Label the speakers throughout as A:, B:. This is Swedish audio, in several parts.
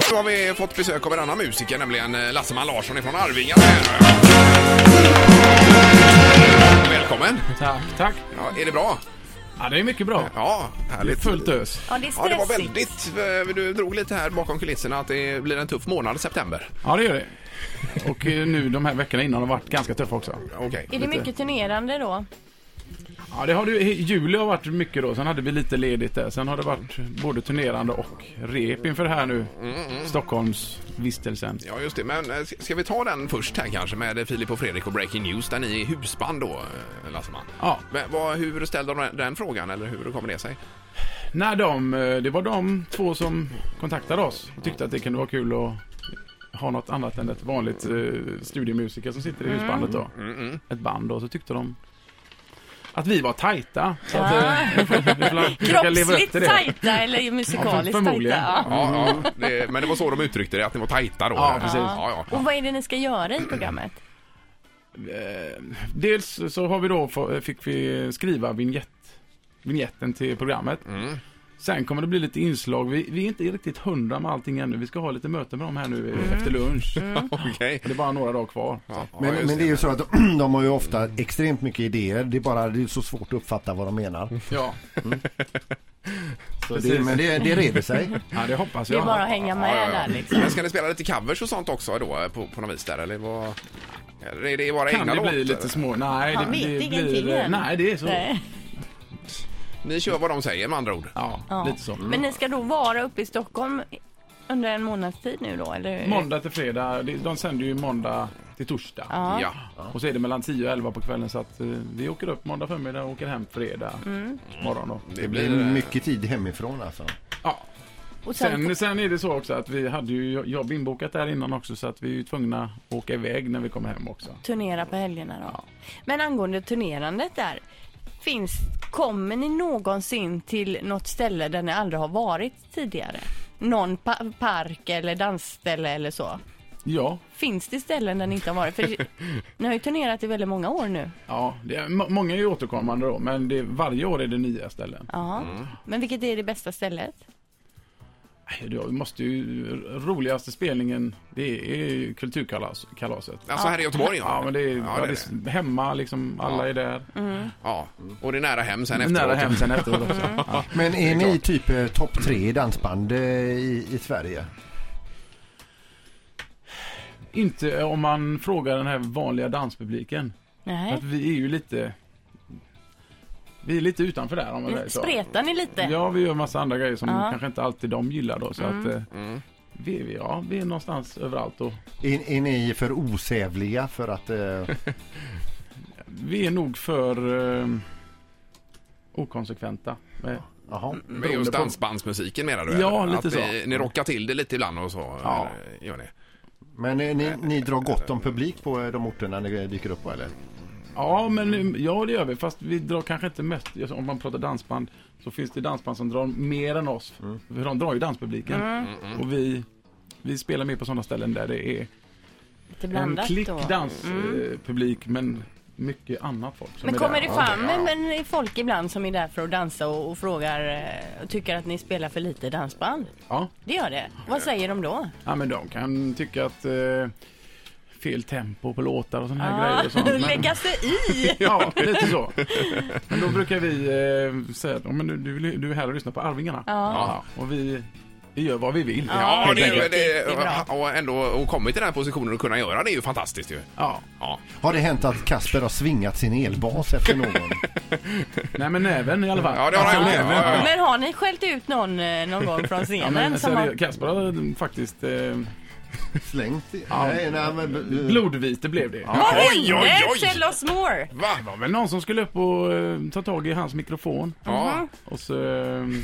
A: så har vi fått besök av en annan musiker, nämligen eh, Lasseman Larsson ifrån Arvinga. Välkommen!
B: Tack, tack.
A: Ja, är det bra?
B: Ja, det är mycket bra.
A: Ja, härligt.
B: Fullt ös.
C: Ja, det är stressigt.
A: Ja, det var väldigt... eh, Du drog lite här bakom kulisserna att det blir en tuff månad i september.
B: Ja, det gör det. Och eh, nu de här veckorna innan har varit ganska tuffa också.
A: Okej.
C: Är det mycket turnerande då?
B: Ja, det har du, juli har varit mycket då. Sen hade vi lite ledigt där. Sen har det varit både turnerande och rep inför här nu. Stockholmsvistelsen.
A: Ja, just det. Men eh, ska- ska vi ta den först här kanske med eh, Filip och Fredrik och Breaking News där ni är husband då, eh, Lasseman?
B: Ja,
A: Men vad, hur ställde de den frågan eller hur kommer det sig?
B: när de, eh, det var de två som kontaktade oss och tyckte att det kunde vara kul att ha något annat än ett vanligt eh, studiemusiker som sitter i husbandet då. Ett band då, så tyckte de att vi var tajta. Så att, eh, vi får, vi får försöka leva upp
C: Ah. Kroppsligt
B: till det.
C: tajta eller musikaliskt
B: Ja, förmodligen.
C: tajta? Ja.
A: Ja, ja, det, men det var så de uttryckte det, att ni var tajta då.
B: Ja, precis.
A: Ja, ja.
C: Och vad är det ni ska göra i programmet?
B: Eh, dels så har vi då, få- fick vi skriva vignett, vignetten till programmet.
A: Mm.
B: Sen kommer det bli lite inslag. Vi, vi är inte riktigt hundra med allting ännu. Vi ska ha lite möten med dem här nu eh,
C: Mm.
B: efter lunch.
A: Okej.
B: Det är bara några dagar kvar.
A: Ja, ja,
D: Men,
A: just
D: men det är ju så att de, de har ju ofta extremt mycket idéer. Det är bara det är så svårt att uppfatta vad de menar.
B: Ja,
D: Så det, men det, det reder sig.
B: ja det hoppas
C: Det är
B: jag.
C: bara att hänga med
A: Ja, ja, ja.
C: där liksom.
A: Men ska ni spela lite covers och sånt också då på, på något vis där eller? Vad, eller är det bara
B: Kan
A: egna
B: det bli
A: låtar?
B: lite små... Nej,
C: Han
B: det,
C: vet
B: det
C: ingenting
B: blir...
C: än.
B: Nej, det är så.
C: Nej.
A: Ni kör vad de säger med andra ord?
B: Ja,
C: Ja.
B: lite så.
C: Men ni ska då vara uppe i Stockholm under en månads tid nu då eller?
B: Måndag till fredag. Det- De sänder ju måndag till torsdag.
C: Ja.
A: Ja.
B: Och så är det mellan 10 och 11 på kvällen så att eh, vi åker upp måndag förmiddag och åker hem fredag
C: Mm.
B: morgon då.
A: Det
D: Det är
A: blir...
D: mycket tid hemifrån alltså.
B: Ja.
C: Och sen,
B: Sen, sen är det så också att vi hade ju jag- jobb inbokat där innan också så att vi är ju tvungna att åka iväg när vi kommer hem också.
C: turnera på helgerna då. Men angående turnerandet där. Finns, kommer ni någonsin till något ställe där ni aldrig har varit tidigare? Någon pa- park eller dansställe eller så?
B: Ja,
C: Finns det ställen där ni inte har varit? För ni har ju turnerat i väldigt många år nu.
B: ja det är, må- många är ju återkommande då men det, varje år är det nya ställen.
C: Ja.
B: Mm.
C: Men vilket är det bästa stället?
B: Nej, Du måste ju, roligaste spelningen det är ju kulturkalaset.
A: Alltså här i Göteborg ja.
B: Ja men det är, ja,
A: det är
B: det är hemma liksom, alla är där.
A: Ja. Och det är nära hem sen efteråt. Mm.
B: Nära hem sen efteråt också. Ja.
D: Men är ni typ eh, topp tre i dansband eh, i, i Sverige?
B: Inte eh, om man frågar den här vanliga danspubliken.
C: Nej.
B: Att vi är ju lite... Vi är lite utanför där om man säger så.
C: Spretar ni lite?
B: Ja, vi gör massa andra grejer som
C: Ja. Mm.
B: kanske inte alltid de gillar då. Så att, eh,
A: Mm.
B: vi, vi- ja, vi är någonstans överallt och
D: Är, är ni för osävliga för att... Eh,
B: vi är nog för eh, okonsekventa. Eh, Men,
D: jaha.
A: Med just dansbandsmusiken menar du?
B: Ja,
A: eller?
B: lite
A: att
B: så.
A: Ni, ni rockar till det lite ibland och så
B: Ja.
A: eh, gör ni?
D: Men eh, ni, ni drar gott om publik på eh, de orterna ni dyker upp på eller?
B: Ja, men eh, ja, det gör vi. Fast vi drar kanske inte mest, alltså, om man pratar dansband, så finns det dansband som drar mer än oss. För de drar ju danspubliken.
C: Mm.
B: Och vi, vi spelar mer på sådana ställen där det är
C: Lite
B: en
C: blandat
B: klick
C: då. Mm.
B: danspublik, men mycket annat folk som
C: Men
B: är
C: kommer
B: där.
C: det fram men, men folk ibland som är där för att dansa och, och frågar eh, och tycker att ni spelar för lite dansband?
B: Ja.
C: Det gör det. Vad säger de då?
B: Ja, men de kan tycka att eh, fel tempo på låtar och sådana här grejer. Och sånt, men-
C: lägga sig i!
B: Ja, lite så. Men då brukar vi eh, säga att "Ja, men du, du, du är här och lyssnar på Arvingarna.
C: Ja.
B: Ja, och vi, vi gör vad vi vill.
A: Ja, det,
C: Ja, det
A: det,
C: är
A: det,
C: riktigt bra.
A: och ändå och kommit till den här positionen och kunna göra det är ju fantastiskt ju.
B: Ja.
A: Ja.
D: Har det hänt att Kasper har svingat sin elbas efter någon?
B: Nej, men näven i alla fall. Alltså,
A: Ja, det har han gjort. Ja, ja, ja.
C: Men har ni skällt ut någon eh, någon gång från
B: Ja,
C: scenen?
B: men,
C: som
B: seriö-
C: har...
B: Kasper har faktiskt... Eh,
D: Slängt? i-
B: Ja.
D: Nej, nej, men, eh,
B: blodvite blev det.
C: Vad
A: Oj,
C: hände?
A: oj, oj!
C: Tell us more!
A: Va?
B: Det var väl någon som skulle upp och eh, ta tag i hans mikrofon.
A: Ja.
B: Och så... ehm,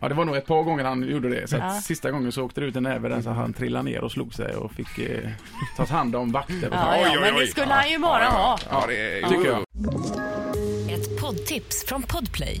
B: Ja, det var nog ett par gånger han gjorde det. Så att
C: Ja.
B: Sista gången så åkte det ut en näve där så han trillade ner och slog sig och fick eh, tas hand om vakter och så.
C: Ja,
A: Oj,
C: ja,
A: oj,
C: men
A: oj.
C: det skulle han ju bara ha.
A: Ja, det är,
B: Tycker jag.
E: Ett poddtips från Podplay.